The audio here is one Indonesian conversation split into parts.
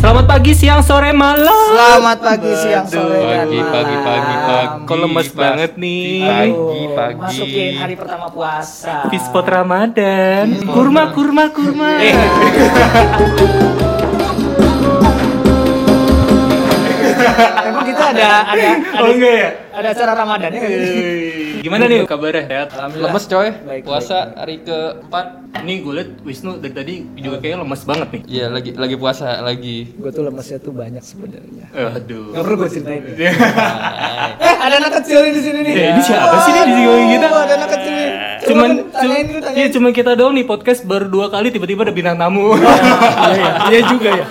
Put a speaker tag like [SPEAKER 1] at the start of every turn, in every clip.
[SPEAKER 1] Selamat pagi, siang, sore, malam.
[SPEAKER 2] Selamat pagi, siang, sore, dan
[SPEAKER 3] Pagi,
[SPEAKER 2] malam.
[SPEAKER 3] pagi, pagi, pagi.
[SPEAKER 1] Kok lemes
[SPEAKER 3] pasti.
[SPEAKER 1] banget nih?
[SPEAKER 3] Pagi,
[SPEAKER 2] Aduh,
[SPEAKER 3] pagi.
[SPEAKER 2] Masukin hari pertama puasa.
[SPEAKER 1] Pispot Iya, Ramadan. Eh, Kurma, kurma, kurma.
[SPEAKER 2] Emang kita ada ada ada,
[SPEAKER 1] Oh, enggak ya?
[SPEAKER 2] ada acara Ramadannya nggak sih?
[SPEAKER 1] Gimana nih kabarnya?
[SPEAKER 2] Alhamdulillah.
[SPEAKER 3] Lemes coy,
[SPEAKER 2] Baik,
[SPEAKER 3] puasa hari keempat.
[SPEAKER 1] Nih gue liat Wisnu dari tadi juga kayaknya lemes banget nih.
[SPEAKER 3] Iya lagi lagi puasa lagi.
[SPEAKER 2] Gue tuh lemesnya tuh banyak sebenarnya. Gak
[SPEAKER 1] Eh, Aduh.
[SPEAKER 2] perlu gue ceritain. eh, ada anak kecil di sini nih.
[SPEAKER 1] Ya, Iya. ini siapa sih nih di sini kita?
[SPEAKER 2] Oh, ada anak kecil. nih. Coba
[SPEAKER 1] Cuman,
[SPEAKER 2] dong, tanyain dulu,
[SPEAKER 1] iya,
[SPEAKER 2] tanyain.
[SPEAKER 1] cuman kita doang nih podcast baru dua kali tiba-tiba ada bintang tamu.
[SPEAKER 2] Iya juga ya.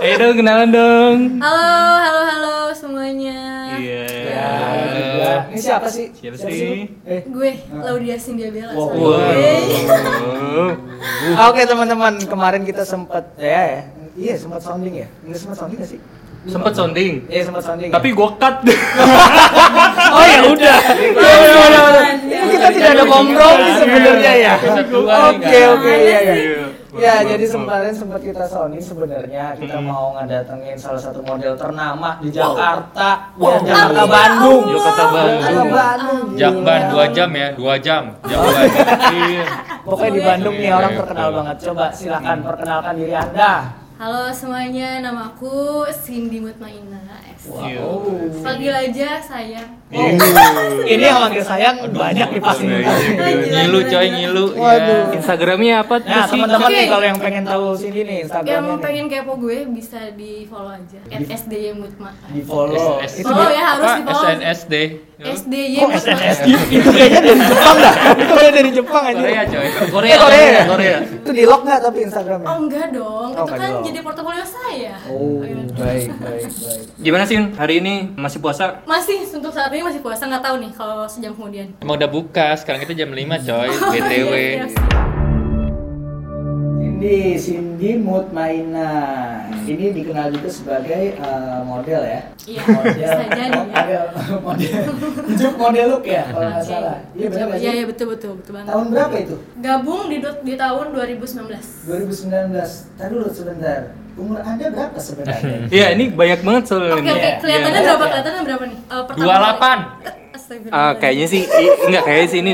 [SPEAKER 1] Ayo dong kenalan dong.
[SPEAKER 4] Halo, halo, halo semuanya.
[SPEAKER 1] Iya.
[SPEAKER 2] Iya. Ini siapa sih?
[SPEAKER 1] Siapa sih?
[SPEAKER 2] lu? Eh,
[SPEAKER 4] Gue Laudia Cynthia Bella.
[SPEAKER 2] Wow.
[SPEAKER 4] sorry. Yeay.
[SPEAKER 1] Wow.
[SPEAKER 2] Ah, Oke teman-teman, kemarin kita sempat ya, ya. Iya, sempat sounding ya. Enggak sempat sounding gak sih?
[SPEAKER 1] Sempet sounding.
[SPEAKER 2] Iya, sempat sounding. ya?
[SPEAKER 1] Tapi gue cut.
[SPEAKER 2] oh ya udah.
[SPEAKER 3] Iya,
[SPEAKER 2] Ya udah, udah. Kita tidak ada kompromi sebenarnya
[SPEAKER 3] Iya,
[SPEAKER 2] ya. Oke, oke, iya ya. Ya, jadi kemarin sempat kita sounding sebenarnya kita
[SPEAKER 3] Hmm.
[SPEAKER 2] mau ngedatengin salah satu model ternama di Jakarta, ya, Jakarta
[SPEAKER 4] Amin,
[SPEAKER 2] Bandung.
[SPEAKER 3] Iya,
[SPEAKER 4] Allah.
[SPEAKER 1] Jakarta Bandung.
[SPEAKER 2] Jakarta Bandung.
[SPEAKER 3] Jakban 2 jam ya, 2 jam.
[SPEAKER 2] Oh,
[SPEAKER 3] Jakban.
[SPEAKER 1] Iya.
[SPEAKER 2] Pokoknya di Bandung nih
[SPEAKER 3] Iya,
[SPEAKER 2] orang
[SPEAKER 3] iya,
[SPEAKER 2] terkenal
[SPEAKER 3] betul.
[SPEAKER 2] banget. Coba silakan perkenalkan diri Anda.
[SPEAKER 4] Halo semuanya, nama aku Cindy Mutmainah.
[SPEAKER 1] Iya.
[SPEAKER 4] Panggil aja saya.
[SPEAKER 2] Iya,
[SPEAKER 3] Iya.
[SPEAKER 2] Ini yang manggil sayang banyak nih pasti. iya.
[SPEAKER 3] ngilu coy, ngilu.
[SPEAKER 2] Waduh.
[SPEAKER 3] Iya.
[SPEAKER 1] Instagramnya apa tuh
[SPEAKER 2] Nah,
[SPEAKER 1] sih?
[SPEAKER 2] teman-teman nih
[SPEAKER 4] Oke.
[SPEAKER 2] kalau yang pengen tahu sini nih
[SPEAKER 4] Yang
[SPEAKER 2] Instagramnya nih.
[SPEAKER 4] pengen kepo gue bisa di follow aja.
[SPEAKER 2] Iya.
[SPEAKER 4] SDY Mutma.
[SPEAKER 2] di follow.
[SPEAKER 3] S- S-
[SPEAKER 2] Itu
[SPEAKER 4] Follow ya harus
[SPEAKER 3] Apa?
[SPEAKER 4] di follow.
[SPEAKER 3] SNSD.
[SPEAKER 4] SDY
[SPEAKER 2] Kok
[SPEAKER 4] Mutma.
[SPEAKER 2] SNSD? Itu kayaknya dari Jepang dah. Itu kayaknya dari Jepang aja.
[SPEAKER 3] Korea ya, coy.
[SPEAKER 2] Eh, Korea. ya?
[SPEAKER 1] Korea.
[SPEAKER 2] Itu di lock nggak tapi Instagramnya?
[SPEAKER 4] Oh enggak dong,
[SPEAKER 2] Oh,
[SPEAKER 4] itu
[SPEAKER 2] enggak
[SPEAKER 4] kan
[SPEAKER 2] dong.
[SPEAKER 4] jadi portofolio saya.
[SPEAKER 2] Oh,
[SPEAKER 4] Ayo.
[SPEAKER 2] baik, baik, baik.
[SPEAKER 1] Gimana sih hari ini masih puasa?
[SPEAKER 4] Masih untuk saat ini masih puasa, nggak tahu nih kalau sejam kemudian.
[SPEAKER 3] Emang udah buka, sekarang kita jam 5 coy, BTW.
[SPEAKER 4] Iya, iya.
[SPEAKER 2] Cindy, Cindy Mutmaina. Ini dikenal juga sebagai eh, model ya.
[SPEAKER 4] Iya,
[SPEAKER 2] Model.
[SPEAKER 4] bisa jadi ya.
[SPEAKER 2] Model, model. Hidup model look ya, kalau nggak salah. Iya benar nggak
[SPEAKER 4] Iya,
[SPEAKER 2] sih?
[SPEAKER 4] iya betul betul betul banget.
[SPEAKER 2] Tahun berapa itu?
[SPEAKER 4] Gabung di dot- di tahun 2019.
[SPEAKER 2] 2019. Tadi dulu sebentar. Umur Anda berapa sebenarnya?
[SPEAKER 1] Iya, ini banyak banget
[SPEAKER 4] Oke
[SPEAKER 1] soalnya.
[SPEAKER 4] oke,
[SPEAKER 1] ini.
[SPEAKER 4] kelihatannya
[SPEAKER 2] Iya.
[SPEAKER 4] berapa? Kelihatannya berapa nih? Eh, pertama
[SPEAKER 3] 28.
[SPEAKER 4] kali. Astagfirullah.
[SPEAKER 1] Ah, kayaknya sih i- enggak kayaknya sih ini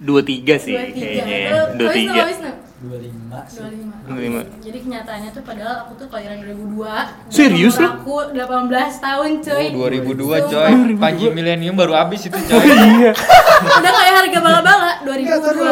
[SPEAKER 1] 23 sih
[SPEAKER 4] 23.
[SPEAKER 1] kayaknya.
[SPEAKER 4] Eh, Wisnu,
[SPEAKER 1] 23.
[SPEAKER 4] Wisnu.
[SPEAKER 2] 25 sih.
[SPEAKER 1] 25.
[SPEAKER 4] 25. Jadi kenyataannya tuh padahal aku tuh kelahiran 2002. Dan
[SPEAKER 1] Serius
[SPEAKER 4] umur
[SPEAKER 1] lu?
[SPEAKER 4] Aku 18 tahun, coy.
[SPEAKER 3] Oh,
[SPEAKER 2] Iya.
[SPEAKER 3] 2002 coy. Panji milenium baru habis itu coy.
[SPEAKER 4] Udah ya, kayak harga bala-bala
[SPEAKER 1] Iya,
[SPEAKER 2] Enggak, seru.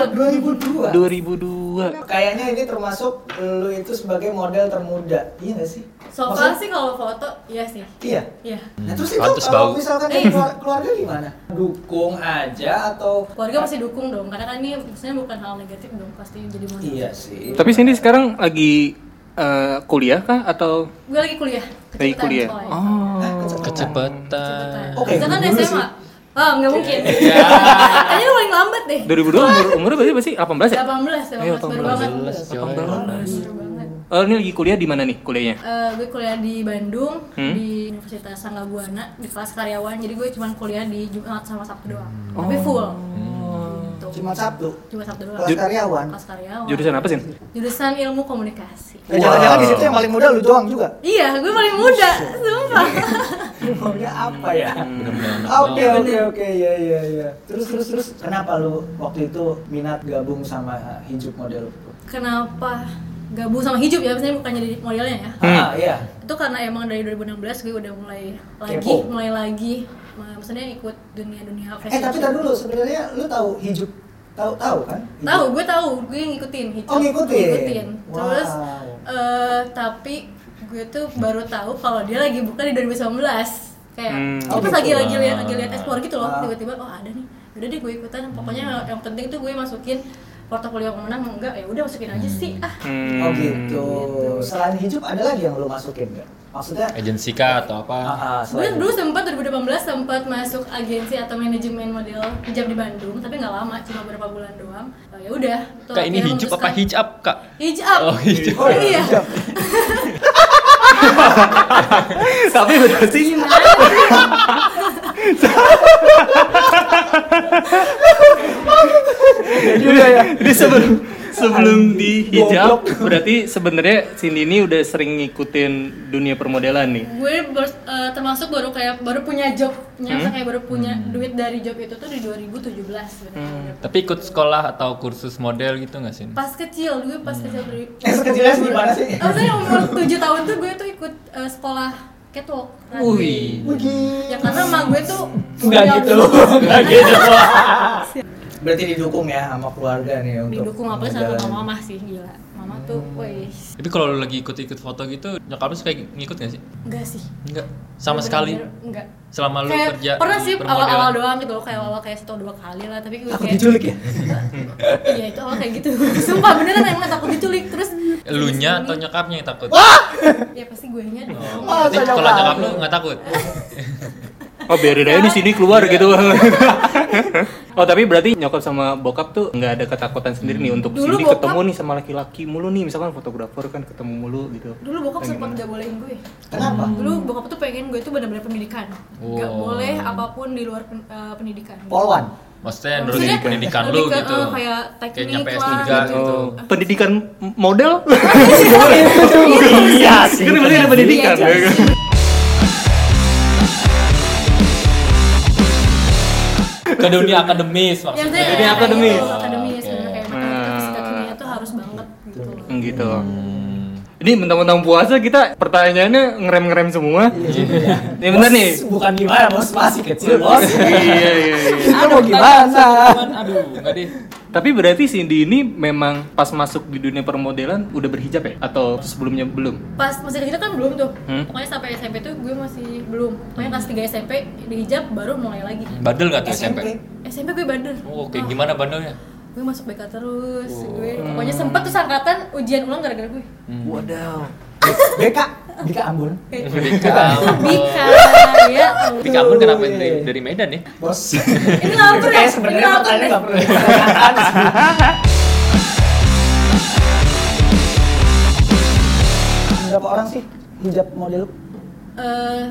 [SPEAKER 2] 2002.
[SPEAKER 4] 2002.
[SPEAKER 1] 2002.
[SPEAKER 2] Kayaknya ini termasuk lu itu sebagai model termuda. Iya gak sih?
[SPEAKER 4] So far
[SPEAKER 2] Maksud-
[SPEAKER 4] sih kalau foto, iya sih.
[SPEAKER 2] Iya.
[SPEAKER 4] Iya.
[SPEAKER 2] Nah, terus itu
[SPEAKER 3] Hmm. Pantes
[SPEAKER 2] kalau
[SPEAKER 3] bau.
[SPEAKER 2] misalkan dari keluar- keluarga gimana? Dukung aja atau
[SPEAKER 4] Keluarga pasti dukung dong, karena kan ini maksudnya bukan hal negatif dong, pasti jadi modal.
[SPEAKER 2] Iya sih.
[SPEAKER 1] Tapi Cindy sekarang lagi eh, kuliah kah atau
[SPEAKER 4] Gue lagi kuliah.
[SPEAKER 1] lagi
[SPEAKER 4] kecepatan
[SPEAKER 1] kuliah?
[SPEAKER 4] sekolahnya.
[SPEAKER 1] Oh.
[SPEAKER 3] Kecepatan.
[SPEAKER 4] Kecepatan.
[SPEAKER 2] Oke,
[SPEAKER 4] Kita kan
[SPEAKER 2] dulu Iya.
[SPEAKER 4] SMA. Oh, nggak mungkin.
[SPEAKER 3] Ya.
[SPEAKER 4] Kayaknya lu paling lambat deh.
[SPEAKER 1] 2002 umur umurnya berarti masih 18 ya?
[SPEAKER 4] 18, 18,
[SPEAKER 1] Iya,
[SPEAKER 4] baru banget.
[SPEAKER 3] 18 coy.
[SPEAKER 4] Baru banget.
[SPEAKER 1] Oh, ini lagi kuliah di mana nih kuliahnya?
[SPEAKER 4] Eh, gue kuliah di Bandung
[SPEAKER 1] Hmm?
[SPEAKER 4] di Universitas Sangga Buana di kelas karyawan jadi gue cuma kuliah di Jumat sama Sabtu doang
[SPEAKER 1] Hmm.
[SPEAKER 4] tapi
[SPEAKER 1] Oh.
[SPEAKER 4] full Gitu.
[SPEAKER 2] Cuma Sabtu.
[SPEAKER 4] cuma Sabtu doang
[SPEAKER 2] Kelas karyawan.
[SPEAKER 4] kelas karyawan
[SPEAKER 1] Jurusan apa sih?
[SPEAKER 4] jurusan ilmu komunikasi
[SPEAKER 2] Eh, Jangan-jangan di situ yang paling muda lu doang juga.
[SPEAKER 4] Iya, gue paling muda, sumpah.
[SPEAKER 2] Maunya apa ya?
[SPEAKER 3] Hmm. Bener-bener.
[SPEAKER 2] Oke oke oke ya ya ya. Terus terus terus kenapa lu waktu itu minat gabung sama hidup model?
[SPEAKER 4] Kenapa gabung sama hidup ya? Biasanya bukan jadi modelnya ya.
[SPEAKER 3] Hmm.
[SPEAKER 2] Ah iya.
[SPEAKER 4] Itu karena emang dari 2016 gue udah mulai lagi,
[SPEAKER 2] Kepo.
[SPEAKER 4] mulai lagi. Maksudnya ikut dunia-dunia
[SPEAKER 2] Eh
[SPEAKER 4] fashion.
[SPEAKER 2] tapi tar dulu sebenarnya lu tahu hidup tahu tahu kan? Hijuk?
[SPEAKER 4] Tahu, gue tahu, gue ngikutin. hijab.
[SPEAKER 2] Oh, ngikutin.
[SPEAKER 4] Ngikutin.
[SPEAKER 2] Wow.
[SPEAKER 4] Terus eh, tapi gue tuh baru tahu kalau dia lagi buka di 2019. Kayak
[SPEAKER 1] Hmm.
[SPEAKER 2] Oh,
[SPEAKER 4] terus
[SPEAKER 2] gitu.
[SPEAKER 4] lagi lagi lihat lagi lihat explore gitu loh,
[SPEAKER 2] Ah. Hmm.
[SPEAKER 4] tiba-tiba oh ada nih. Udah deh gue ikutan. Pokoknya yang penting tuh gue masukin portofolio pemenang mau enggak ya udah masukin aja sih ah.
[SPEAKER 3] Hmm,
[SPEAKER 2] Oh gitu. Selain hidup ada lagi yang lu masukin nggak? Maksudnya?
[SPEAKER 3] Agensi kah atau apa?
[SPEAKER 2] Ah, ah,
[SPEAKER 4] Gue
[SPEAKER 2] selain
[SPEAKER 4] dulu sempat 2018 sempat masuk agensi atau manajemen model hijab di Bandung, tapi nggak lama, cuma beberapa bulan doang. Eh, ya udah. tuh
[SPEAKER 3] Kak ini
[SPEAKER 4] akhirnya
[SPEAKER 3] hijab apa
[SPEAKER 4] memutuskan-
[SPEAKER 3] hijab kak?
[SPEAKER 4] Hijab.
[SPEAKER 3] Oh, hijab.
[SPEAKER 2] Oh,
[SPEAKER 4] iya.
[SPEAKER 2] hijab.
[SPEAKER 1] Tapi berarti
[SPEAKER 2] juga ya.
[SPEAKER 1] Jadi Iya, sebelum sebelum di hijab berarti sebenarnya Cindy ini udah sering ngikutin dunia permodelan nih.
[SPEAKER 4] gue ber- eh, termasuk baru kayak baru punya job
[SPEAKER 3] Hmm.
[SPEAKER 4] nyata kayak baru punya duit dari job itu tuh di 2017 sebenarnya
[SPEAKER 3] Tapi ikut sekolah atau kursus model gitu nggak sih?
[SPEAKER 4] pas kecil gue pas kecil dari
[SPEAKER 2] Pas kecilnya sih gimana sih?
[SPEAKER 4] maksudnya Oh, umur 7 tahun tuh gue tuh ikut eh, sekolah catwalk runway.
[SPEAKER 2] Iya.
[SPEAKER 4] ya karena emang gue tuh
[SPEAKER 2] Enggak
[SPEAKER 4] model
[SPEAKER 2] gitu.
[SPEAKER 4] dulu.
[SPEAKER 2] Enggak gitu. Berarti didukung ya sama keluarga nih untuk
[SPEAKER 4] didukung apa sama
[SPEAKER 2] menjalani.
[SPEAKER 4] mama sih gila mama tuh wih
[SPEAKER 3] Tapi kalau lu lagi ikut-ikut foto gitu, nyokap lu suka ngikut nggak sih?
[SPEAKER 4] Enggak sih.
[SPEAKER 3] Enggak, sama sekali.
[SPEAKER 4] Bener-bener Enggak.
[SPEAKER 3] Selama lu
[SPEAKER 4] Kayak
[SPEAKER 3] kerja
[SPEAKER 4] pernah
[SPEAKER 3] di
[SPEAKER 4] sih
[SPEAKER 3] permodelan.
[SPEAKER 4] awal-awal doang gitu loh, kayak awal kayak satu dua kali lah, tapi gue
[SPEAKER 2] Takut
[SPEAKER 4] kayak
[SPEAKER 2] diculik ya?
[SPEAKER 4] Iya, itu awal kayak gitu. Sumpah beneran emang takut diculik terus
[SPEAKER 3] Elunya Eh, atau Oh.
[SPEAKER 4] nyokap?
[SPEAKER 3] nyokapnya yang takut?
[SPEAKER 4] Ya pasti gue nya.
[SPEAKER 2] Wah,
[SPEAKER 3] Tapi
[SPEAKER 2] saya
[SPEAKER 3] kalau
[SPEAKER 2] nyokap.
[SPEAKER 3] nyokap lu nggak takut.
[SPEAKER 1] Oh biarin aja di sini keluar gitu. oh tapi berarti nyokap sama bokap tuh nggak ada ketakutan sendiri nih untuk
[SPEAKER 4] Dulu
[SPEAKER 1] Cindy
[SPEAKER 4] bokap-
[SPEAKER 1] ketemu nih sama laki-laki mulu nih misalkan fotografer kan ketemu mulu gitu.
[SPEAKER 4] Dulu bokap sempat nggak bolehin gue.
[SPEAKER 2] Kenapa?
[SPEAKER 4] Dulu bokap tuh pengen gue tuh benar-benar pendidikan. Nggak
[SPEAKER 3] Wow.
[SPEAKER 4] boleh apapun di luar pen- eh, pendidikan.
[SPEAKER 2] Polwan.
[SPEAKER 3] Maksudnya yang
[SPEAKER 4] Maksudnya
[SPEAKER 3] pendidikan
[SPEAKER 4] lebih
[SPEAKER 3] lu
[SPEAKER 4] ke,
[SPEAKER 3] gitu.
[SPEAKER 4] eh, kayak teknik
[SPEAKER 3] nyampe
[SPEAKER 4] lah,
[SPEAKER 3] S3
[SPEAKER 4] gitu.
[SPEAKER 3] gitu.
[SPEAKER 1] Oh, pendidikan m- model?
[SPEAKER 2] Iya sih.
[SPEAKER 1] Kan berarti ada pendidikan.
[SPEAKER 4] Iya, iya.
[SPEAKER 3] Ke dunia akademis maksudnya.
[SPEAKER 1] Jadi akademis.
[SPEAKER 4] Iya, Ya, Akademis
[SPEAKER 3] Oke.
[SPEAKER 4] bener kayak matematika fisika kimia tuh harus banget gitu. loh.
[SPEAKER 1] Hmm, gitu.
[SPEAKER 3] Hmm.
[SPEAKER 1] Ini mentang-mentang puasa kita pertanyaannya ngerem-ngerem semua. Ini bener nih.
[SPEAKER 2] Bos, Bukan gimana bos masih kecil bos.
[SPEAKER 1] iya, iya, iya.
[SPEAKER 2] Kita mau gimana?
[SPEAKER 3] Cuman aduh, enggak deh.
[SPEAKER 1] Tapi berarti Cindy ini memang pas masuk di dunia permodelan udah berhijab ya? Atau sebelumnya belum?
[SPEAKER 4] Pas masih kecil kan belum tuh.
[SPEAKER 1] Hmm.
[SPEAKER 4] Pokoknya sampai SMP tuh gue masih belum. Pokoknya kelas 3 SMP di hijab baru mulai lagi.
[SPEAKER 3] Bandel enggak tuh SMP?
[SPEAKER 4] SMP gue bandel.
[SPEAKER 3] Oh, Oke, gimana Oh. Hmm. bandelnya?
[SPEAKER 4] Gue masuk BK terus. Gue pokoknya sempet tuh angkatan ujian ulang gara-gara gue.
[SPEAKER 3] Hmm.
[SPEAKER 1] Wadaw.
[SPEAKER 2] BK, BK Ambon.
[SPEAKER 4] gitu. Bika, ya.
[SPEAKER 3] Di kampung kenapa dari, dari Medan ya?
[SPEAKER 2] Bos.
[SPEAKER 4] Ini lapar ya?
[SPEAKER 2] Kayak sebenarnya
[SPEAKER 4] Ini lapar
[SPEAKER 2] makanannya
[SPEAKER 4] ya?
[SPEAKER 2] nggak perlu dikatakan sih. Berapa orang sih hijab model lu?
[SPEAKER 4] Eh,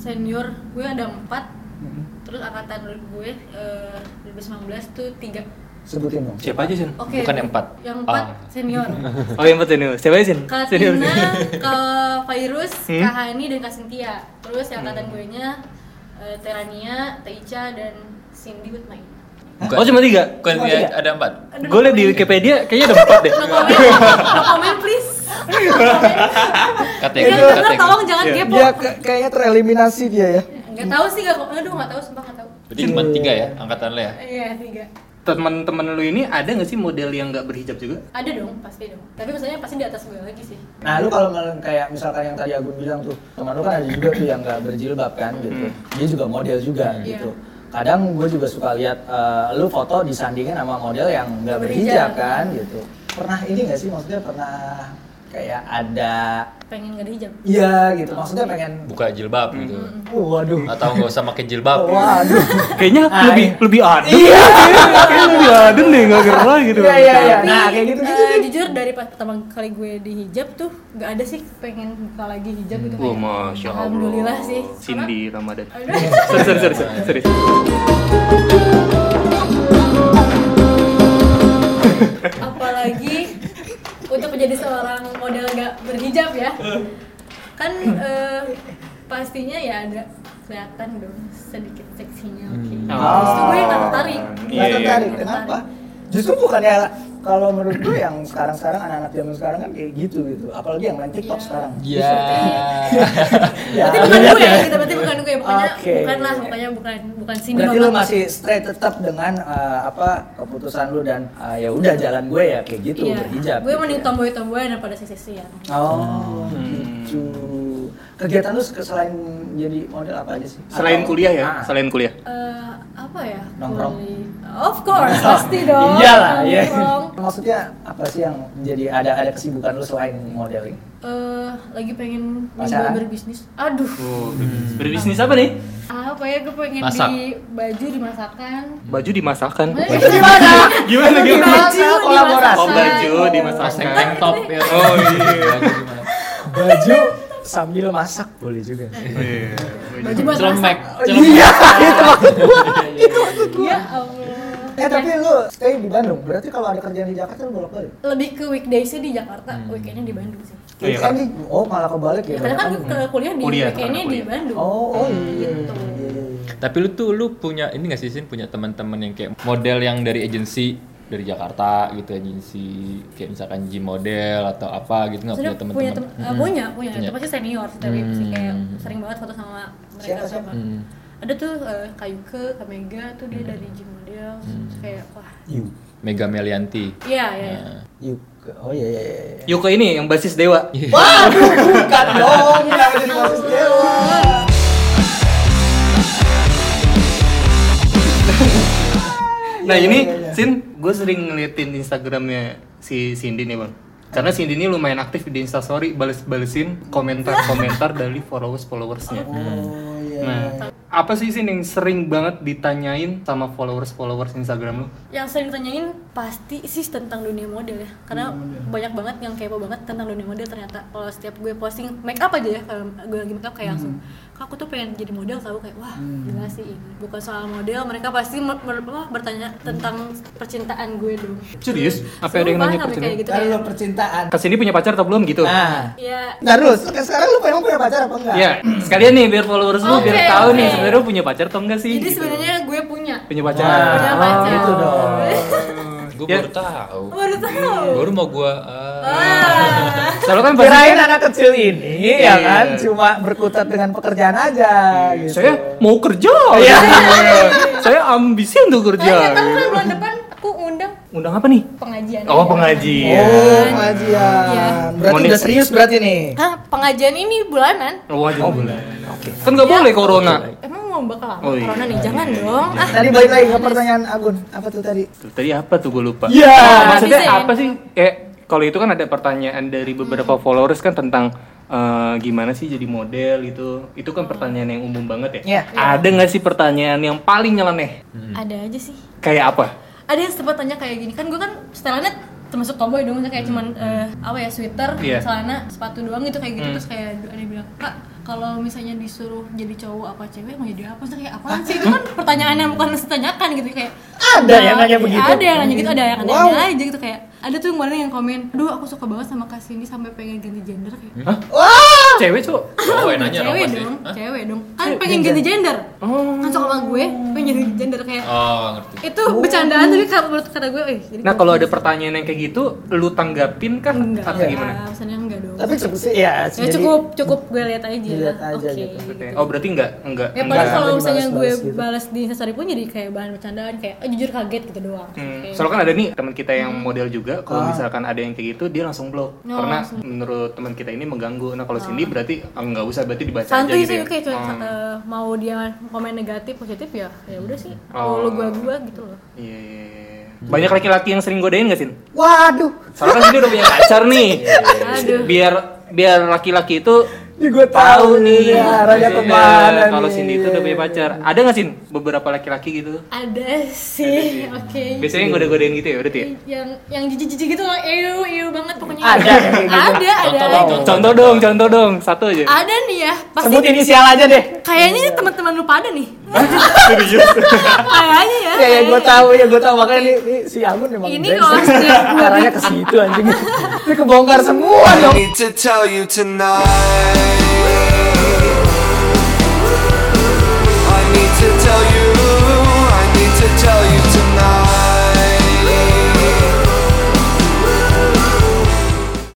[SPEAKER 4] senior gue ada empat.
[SPEAKER 2] Hmm.
[SPEAKER 4] Terus angkatan gue eh, 2019 tuh tiga.
[SPEAKER 2] Sebutin dong.
[SPEAKER 1] Siapa aja, Sin?
[SPEAKER 4] Oke.
[SPEAKER 3] Bukan yang empat.
[SPEAKER 4] Yang empat
[SPEAKER 3] Ah.
[SPEAKER 4] senior.
[SPEAKER 1] Oh, yang empat senior. Siapa aja, Sin?
[SPEAKER 4] Kak
[SPEAKER 1] Senior.
[SPEAKER 4] Tina, Kak Virus,
[SPEAKER 1] Hmm?
[SPEAKER 4] Kak Hani, dan Kak Cynthia. Terus yang angkatan gue nya eh, Terania, Teica, dan Cindy with my.
[SPEAKER 3] Bukan.
[SPEAKER 1] Oh, cuma tiga?
[SPEAKER 3] Bukan
[SPEAKER 2] Cuma
[SPEAKER 3] dia
[SPEAKER 2] tiga.
[SPEAKER 3] ada empat.
[SPEAKER 1] Gue liat di Wikipedia kayaknya ada empat deh.
[SPEAKER 4] No comment, no comment please.
[SPEAKER 3] Kategori.
[SPEAKER 4] Yang bener
[SPEAKER 3] kategori.
[SPEAKER 4] Iya, tolong jangan
[SPEAKER 1] Iya.
[SPEAKER 4] kepo.
[SPEAKER 2] Dia ke- kayaknya tereliminasi dia ya.
[SPEAKER 4] Gak tau sih, gak, aduh gak tau, sumpah gak tau.
[SPEAKER 3] Berarti cuma tiga ya angkatan lo ya?
[SPEAKER 4] Iya, tiga.
[SPEAKER 1] Teman-teman lu ini ada nggak sih model yang nggak berhijab juga?
[SPEAKER 4] Ada dong, pasti dong. Tapi maksudnya pasti di atas gue lagi sih.
[SPEAKER 2] Nah, lu kalau ngel- kayak misalkan yang tadi Agun bilang tuh, teman lu kan ada juga tuh yang nggak berjilbab kan gitu. Dia juga model juga
[SPEAKER 4] Iya.
[SPEAKER 2] gitu. Kadang gue juga suka lihat eh, lu foto disandingin sama model yang nggak
[SPEAKER 4] Nggak
[SPEAKER 2] berhijab
[SPEAKER 4] berhijab.
[SPEAKER 2] kan gitu. Pernah ini nggak sih maksudnya pernah kayak ada
[SPEAKER 4] Pengen gak dihijab.
[SPEAKER 2] iya gitu. Maksudnya pengen
[SPEAKER 3] Buka jilbab gitu.
[SPEAKER 2] waduh.
[SPEAKER 3] Atau nggak usah pakai jilbab.
[SPEAKER 2] Waduh.
[SPEAKER 1] Kayaknya
[SPEAKER 2] Ah,
[SPEAKER 1] lebih
[SPEAKER 2] iya.
[SPEAKER 1] lebih adem.
[SPEAKER 2] Iya.
[SPEAKER 1] Kayaknya lebih adem deh, nggak gerah gitu.
[SPEAKER 2] Iya, iya, iya.
[SPEAKER 4] Tapi,
[SPEAKER 2] Nah, kayak gitu,
[SPEAKER 4] eh,
[SPEAKER 2] gitu, gitu.
[SPEAKER 4] jujur dari pas pertama kali gue dihijab tuh gak ada sih pengen buka lagi hijab gitu.
[SPEAKER 1] Wah,
[SPEAKER 4] kayak,
[SPEAKER 1] masya Allah.
[SPEAKER 4] Alhamdulillah sih.
[SPEAKER 1] Cindy Ramadan.
[SPEAKER 4] Aduh.
[SPEAKER 1] Sorry, sorry, sorry, sorry, sorry.
[SPEAKER 4] apalagi untuk menjadi seorang model gak berhijab ya kan eh, pastinya ya ada kelihatan dong sedikit seksinya oke Terus tuh gue gak tertarik
[SPEAKER 1] Iya, iya.
[SPEAKER 2] Nggak tertarik. Ah. Kenapa? Justru bukannya kalau menurut gue yang sekarang-sekarang anak-anak zaman sekarang kan kayak gitu gitu. Apalagi yang main TikTok
[SPEAKER 4] Iya.
[SPEAKER 2] sekarang.
[SPEAKER 3] Iya.
[SPEAKER 2] Ya,
[SPEAKER 4] berarti bukan gue gitu berarti bukan gue pokoknya
[SPEAKER 2] Oke.
[SPEAKER 4] bukan lah pokoknya bukan bukan sini
[SPEAKER 2] Berarti
[SPEAKER 4] banget.
[SPEAKER 2] lu masih straight tetap dengan eh, apa keputusan lu dan eh, ya udah jalan gue ya kayak gitu
[SPEAKER 4] Iya.
[SPEAKER 2] berhijab.
[SPEAKER 4] gue
[SPEAKER 2] gitu
[SPEAKER 4] mending
[SPEAKER 2] ya.
[SPEAKER 4] tomboy tomboyan daripada seksi seksian
[SPEAKER 1] Hmm.
[SPEAKER 2] Oh, gitu. Kegiatan lu se- selain jadi model apa aja sih?
[SPEAKER 1] Selain
[SPEAKER 2] Atau-
[SPEAKER 1] kuliah ya,
[SPEAKER 2] Ah.
[SPEAKER 1] selain kuliah.
[SPEAKER 4] Eh, apa ya
[SPEAKER 2] Nongkrong.
[SPEAKER 4] Kuali- of course pasti dong
[SPEAKER 2] Iyalah, iya.
[SPEAKER 4] nongkrong
[SPEAKER 2] Maksudnya apa sih yang jadi ada ada kesibukan lu selain modeling?
[SPEAKER 4] Eh, lagi pengen
[SPEAKER 2] Pacaran?
[SPEAKER 4] nyoba berbisnis aduh
[SPEAKER 2] Hmm.
[SPEAKER 1] Oh, berbisnis. Berbisnis apa nih?
[SPEAKER 4] apa ya gue pengen
[SPEAKER 3] Masak.
[SPEAKER 4] di baju dimasakan
[SPEAKER 2] Hmm.
[SPEAKER 1] Baju dimasakkan.
[SPEAKER 4] Eh, gimana
[SPEAKER 1] Gimana gimana?
[SPEAKER 2] Baju kolaborasi.
[SPEAKER 1] Oh, baju
[SPEAKER 4] dimasakan.
[SPEAKER 1] dimasak.
[SPEAKER 3] Pas tank top ya.
[SPEAKER 1] Oh, iya.
[SPEAKER 3] Baju gimana?
[SPEAKER 2] Baju sambil masak boleh juga.
[SPEAKER 1] Iya.
[SPEAKER 4] Baju buat
[SPEAKER 3] Celemek,
[SPEAKER 4] masak.
[SPEAKER 3] celemek.
[SPEAKER 2] Iya, itu maksud gua. Itu maksud gua.
[SPEAKER 4] Ya Allah.
[SPEAKER 2] Eh tapi lu stay di Bandung. Berarti kalau ada kerjaan di Jakarta lu bolak-balik.
[SPEAKER 4] Lebih ke weekdaysnya di Jakarta,
[SPEAKER 2] Hmm.
[SPEAKER 4] weekendnya di Bandung sih.
[SPEAKER 1] Oh, iya,
[SPEAKER 2] Kan di- oh malah kebalik ya.
[SPEAKER 4] Karena kan
[SPEAKER 2] banyak
[SPEAKER 4] ke kuliah di
[SPEAKER 1] Kuliah,
[SPEAKER 4] weekendnya
[SPEAKER 1] karena
[SPEAKER 4] di
[SPEAKER 1] kuliah.
[SPEAKER 4] Bandung.
[SPEAKER 2] Oh, oh iya.
[SPEAKER 4] Gitu.
[SPEAKER 2] iya, iya, iya.
[SPEAKER 3] Tapi lu tuh lu punya ini gak sih Sin punya teman-teman yang kayak model yang dari agensi dari Jakarta gitu agensi kayak misalkan gym model atau apa gitu nggak
[SPEAKER 4] Maksudnya
[SPEAKER 3] punya teman-teman?
[SPEAKER 4] punya tem- eh, punya, punya.
[SPEAKER 3] Punya.
[SPEAKER 4] Itu pasti senior, tapi
[SPEAKER 3] Hmm.
[SPEAKER 4] sih kayak sering banget foto sama mereka
[SPEAKER 2] Siapa, siapa?
[SPEAKER 4] sama.
[SPEAKER 3] Hmm.
[SPEAKER 4] Ada tuh eh, Kayuke, Kamega tuh
[SPEAKER 3] Mm.
[SPEAKER 4] dia dari gym model, terus kayak wah.
[SPEAKER 2] You.
[SPEAKER 3] Mega Melianti.
[SPEAKER 4] Iya, iya. iya.
[SPEAKER 3] Nah.
[SPEAKER 2] You. Oh iya iya iya. iya.
[SPEAKER 1] Yuko ini yang basis Dewa.
[SPEAKER 2] Waduh, bukan dong. Kenapa jadi kasus dewa?
[SPEAKER 1] Nah
[SPEAKER 2] Iya,
[SPEAKER 1] ini
[SPEAKER 2] iya, iya.
[SPEAKER 1] Sin, gue sering ngeliatin Instagramnya si Cindy nih bang. Karena Cindy ini lumayan aktif di Instastory, bales-balesin komentar-komentar dari followers-followersnya.
[SPEAKER 2] Oh iya.
[SPEAKER 1] Nah, apa sih Sin yang sering banget ditanyain sama followers-followers Instagram lu?
[SPEAKER 4] Yang sering tanyain pasti sih tentang dunia model ya. Karena banyak banget yang kepo banget tentang dunia model ternyata. Kalau setiap gue posting make up aja ya, kalau gue lagi make up
[SPEAKER 1] Mm.
[SPEAKER 4] kayak langsung Kak, aku tuh pengen jadi model tahu kayak wah gila sih ini. Bukan soal model, mereka pasti mer- mer- apa, bertanya tentang percintaan gue dong.
[SPEAKER 1] Serius? Apa ada yang nanya
[SPEAKER 4] Sumpah, sampai kayak
[SPEAKER 1] percintaan?
[SPEAKER 4] gitu
[SPEAKER 2] Lalu
[SPEAKER 4] kayak,
[SPEAKER 2] percintaan.
[SPEAKER 1] Kak Cindy punya pacar atau belum gitu?
[SPEAKER 2] Nah.
[SPEAKER 4] Ya,
[SPEAKER 2] Terus, sekarang lu pengen punya pacar apa enggak?
[SPEAKER 1] Ya, sekalian nih biar followers lu biar
[SPEAKER 4] Oke,
[SPEAKER 1] tahu nih
[SPEAKER 4] oke.
[SPEAKER 1] sebenarnya lu punya pacar atau enggak sih?
[SPEAKER 4] Jadi
[SPEAKER 1] gitu.
[SPEAKER 4] sebenarnya gue punya.
[SPEAKER 1] punya pacar. Ah,
[SPEAKER 2] Wah, Oh,
[SPEAKER 4] Punya pacar.
[SPEAKER 2] gitu dong.
[SPEAKER 3] Gue
[SPEAKER 1] Ya.
[SPEAKER 3] baru tahu.
[SPEAKER 4] Oh, Baru tahu. Ah.
[SPEAKER 3] Baru mau ah. gue.
[SPEAKER 1] Iya.
[SPEAKER 4] Wah.
[SPEAKER 1] Soalnya kan pasti
[SPEAKER 2] Kirain anak kecil ini
[SPEAKER 1] Iya.
[SPEAKER 2] ya kan cuma berkutat dengan pekerjaan aja gitu.
[SPEAKER 1] saya mau kerja.
[SPEAKER 2] Iya.
[SPEAKER 1] saya ambisi untuk
[SPEAKER 4] Nah,
[SPEAKER 1] kerja.
[SPEAKER 4] tahu kan bulan depan aku undang
[SPEAKER 1] Undang apa nih?
[SPEAKER 4] pengajian.
[SPEAKER 1] Oh, pengajian.
[SPEAKER 2] Oh,
[SPEAKER 4] Iya.
[SPEAKER 2] pengajian. Berarti
[SPEAKER 1] Monik-
[SPEAKER 2] udah serius berarti nih.
[SPEAKER 4] Hah, pengajian ini bulanan.
[SPEAKER 1] Oh, wajib bulan. Kan nggak boleh corona.
[SPEAKER 4] Emang mau bakal lama
[SPEAKER 1] Oh, iya.
[SPEAKER 4] corona nih? Jangan dong. Ah,
[SPEAKER 2] Tadi balik lagi ke pertanyaan Agun, apa tuh tadi?
[SPEAKER 1] Tuh, Tadi apa tuh gue lupa.
[SPEAKER 2] Iya.
[SPEAKER 1] Oh, maksudnya
[SPEAKER 4] Bisa ya? Hmm.
[SPEAKER 1] apa sih? Eh, kalau itu kan ada pertanyaan dari beberapa followers kan tentang eh, gimana sih jadi model itu. Itu kan pertanyaan yang umum banget ya.
[SPEAKER 2] Iya.
[SPEAKER 1] Ada nggak sih pertanyaan yang paling nyeleneh?
[SPEAKER 4] ada aja sih.
[SPEAKER 1] Kayak apa?
[SPEAKER 4] Ada yang sempat tanya kayak gini kan gue kan setelannya termasuk tomboy dong maksudnya kayak cuman eh, apa ya sweater,
[SPEAKER 1] Iya.
[SPEAKER 4] celana, sepatu doang gitu kayak gitu
[SPEAKER 1] Hmm.
[SPEAKER 4] terus kayak ada yang bilang kak kalau misalnya disuruh jadi cowok apa cewek mau jadi apa Terus kayak apaan sih itu kan pertanyaan yang bukan harus ditanyakan gitu kayak
[SPEAKER 2] Ada yang nanya begitu.
[SPEAKER 4] ada yang nanya gitu ada yang
[SPEAKER 2] Wow.
[SPEAKER 4] nanya aja gitu kayak ada tuh yang kemarin yang komen aduh aku suka banget sama Kak Cindy sampai pengen ganti gender kayak
[SPEAKER 2] Wah,
[SPEAKER 4] Ah.
[SPEAKER 1] Cewek, Cuk.
[SPEAKER 3] Oh, nanya dong
[SPEAKER 4] cewek
[SPEAKER 3] pasti.
[SPEAKER 4] dong,
[SPEAKER 3] Hah?
[SPEAKER 4] cewek dong. Kan pengen ganti gender. Kan suka sama gue, pengen ganti gender kayak
[SPEAKER 3] Oh ngerti.
[SPEAKER 4] itu bercandaan tapi kalau menurut kata gue, eh jadi
[SPEAKER 1] Nah, kalau ada pertanyaan yang kayak gitu, lu tanggapin kah
[SPEAKER 4] enggak.
[SPEAKER 1] atau gimana?
[SPEAKER 4] Ya, pesannya enggak dong.
[SPEAKER 2] tapi cukup sih ya.
[SPEAKER 4] ya cukup cukup gue lihat aja.
[SPEAKER 2] Dilihat aja
[SPEAKER 4] Oke.
[SPEAKER 2] gitu.
[SPEAKER 1] Oke. Oh, berarti enggak? Enggak.
[SPEAKER 4] Ya
[SPEAKER 1] enggak.
[SPEAKER 4] padahal kalau
[SPEAKER 2] Enggak.
[SPEAKER 4] misalnya gue
[SPEAKER 2] Dibalas-balas gitu.
[SPEAKER 4] balas di instastory pun jadi kayak bahan bercandaan kayak eh, jujur kaget gitu doang.
[SPEAKER 1] Hmm,
[SPEAKER 4] Kayak-
[SPEAKER 1] soalnya kan ada nih teman kita yang
[SPEAKER 4] Hmm.
[SPEAKER 1] model juga kalau misalkan ada yang kayak gitu dia langsung blok
[SPEAKER 4] No,
[SPEAKER 1] karena
[SPEAKER 4] Ah. Oh, langsung.
[SPEAKER 1] menurut teman kita ini mengganggu nah kalau Cindy berarti ah, nggak usah berarti dibaca aja
[SPEAKER 4] santuy
[SPEAKER 1] gitu
[SPEAKER 4] sih
[SPEAKER 1] ya
[SPEAKER 4] oke cuma
[SPEAKER 1] Hmm,
[SPEAKER 4] eh, mau dia komen negatif positif ya ya udah sih
[SPEAKER 1] Oh.
[SPEAKER 4] kalau lu gue gue gitu loh
[SPEAKER 1] iya iya iya. banyak laki-laki yang sering godain gak Sin?
[SPEAKER 2] Waduh,
[SPEAKER 1] soalnya kan Cindy udah punya pacar nih
[SPEAKER 4] Iya, Aduh.
[SPEAKER 1] biar biar laki-laki itu
[SPEAKER 2] ini gue tahu nih
[SPEAKER 1] eh,
[SPEAKER 2] arahnya kemana nih.
[SPEAKER 1] kalau Cindy itu udah punya pacar ada nggak Sin beberapa laki-laki gitu
[SPEAKER 4] ada sih oke
[SPEAKER 1] biasanya yang goda-godain gitu ya berarti ya
[SPEAKER 4] yang yang jijik-jijik gitu loh, ew, ew banget pokoknya.
[SPEAKER 2] Ada yang kayak gitu.
[SPEAKER 4] ada, ada,
[SPEAKER 3] Contoh
[SPEAKER 4] ada.
[SPEAKER 3] dong.
[SPEAKER 1] contoh dong contoh dong satu aja
[SPEAKER 4] Ada nih ya, pasti
[SPEAKER 2] Sebut inisial aja deh.
[SPEAKER 4] kayaknya ini teman-teman lu pada nih.
[SPEAKER 1] Serius?
[SPEAKER 4] kayaknya ya.
[SPEAKER 2] Ya ya gue
[SPEAKER 4] kayaknya.
[SPEAKER 2] tahu ya gue tahu makanya ini, ini si Agun memang
[SPEAKER 4] Ini
[SPEAKER 2] brengsek.
[SPEAKER 4] kalau setiap gua-
[SPEAKER 2] arahnya ke situ anjing. Ini kebongkar semua dong.
[SPEAKER 5] need to tell you tonight. I need to tell you. I need to tell you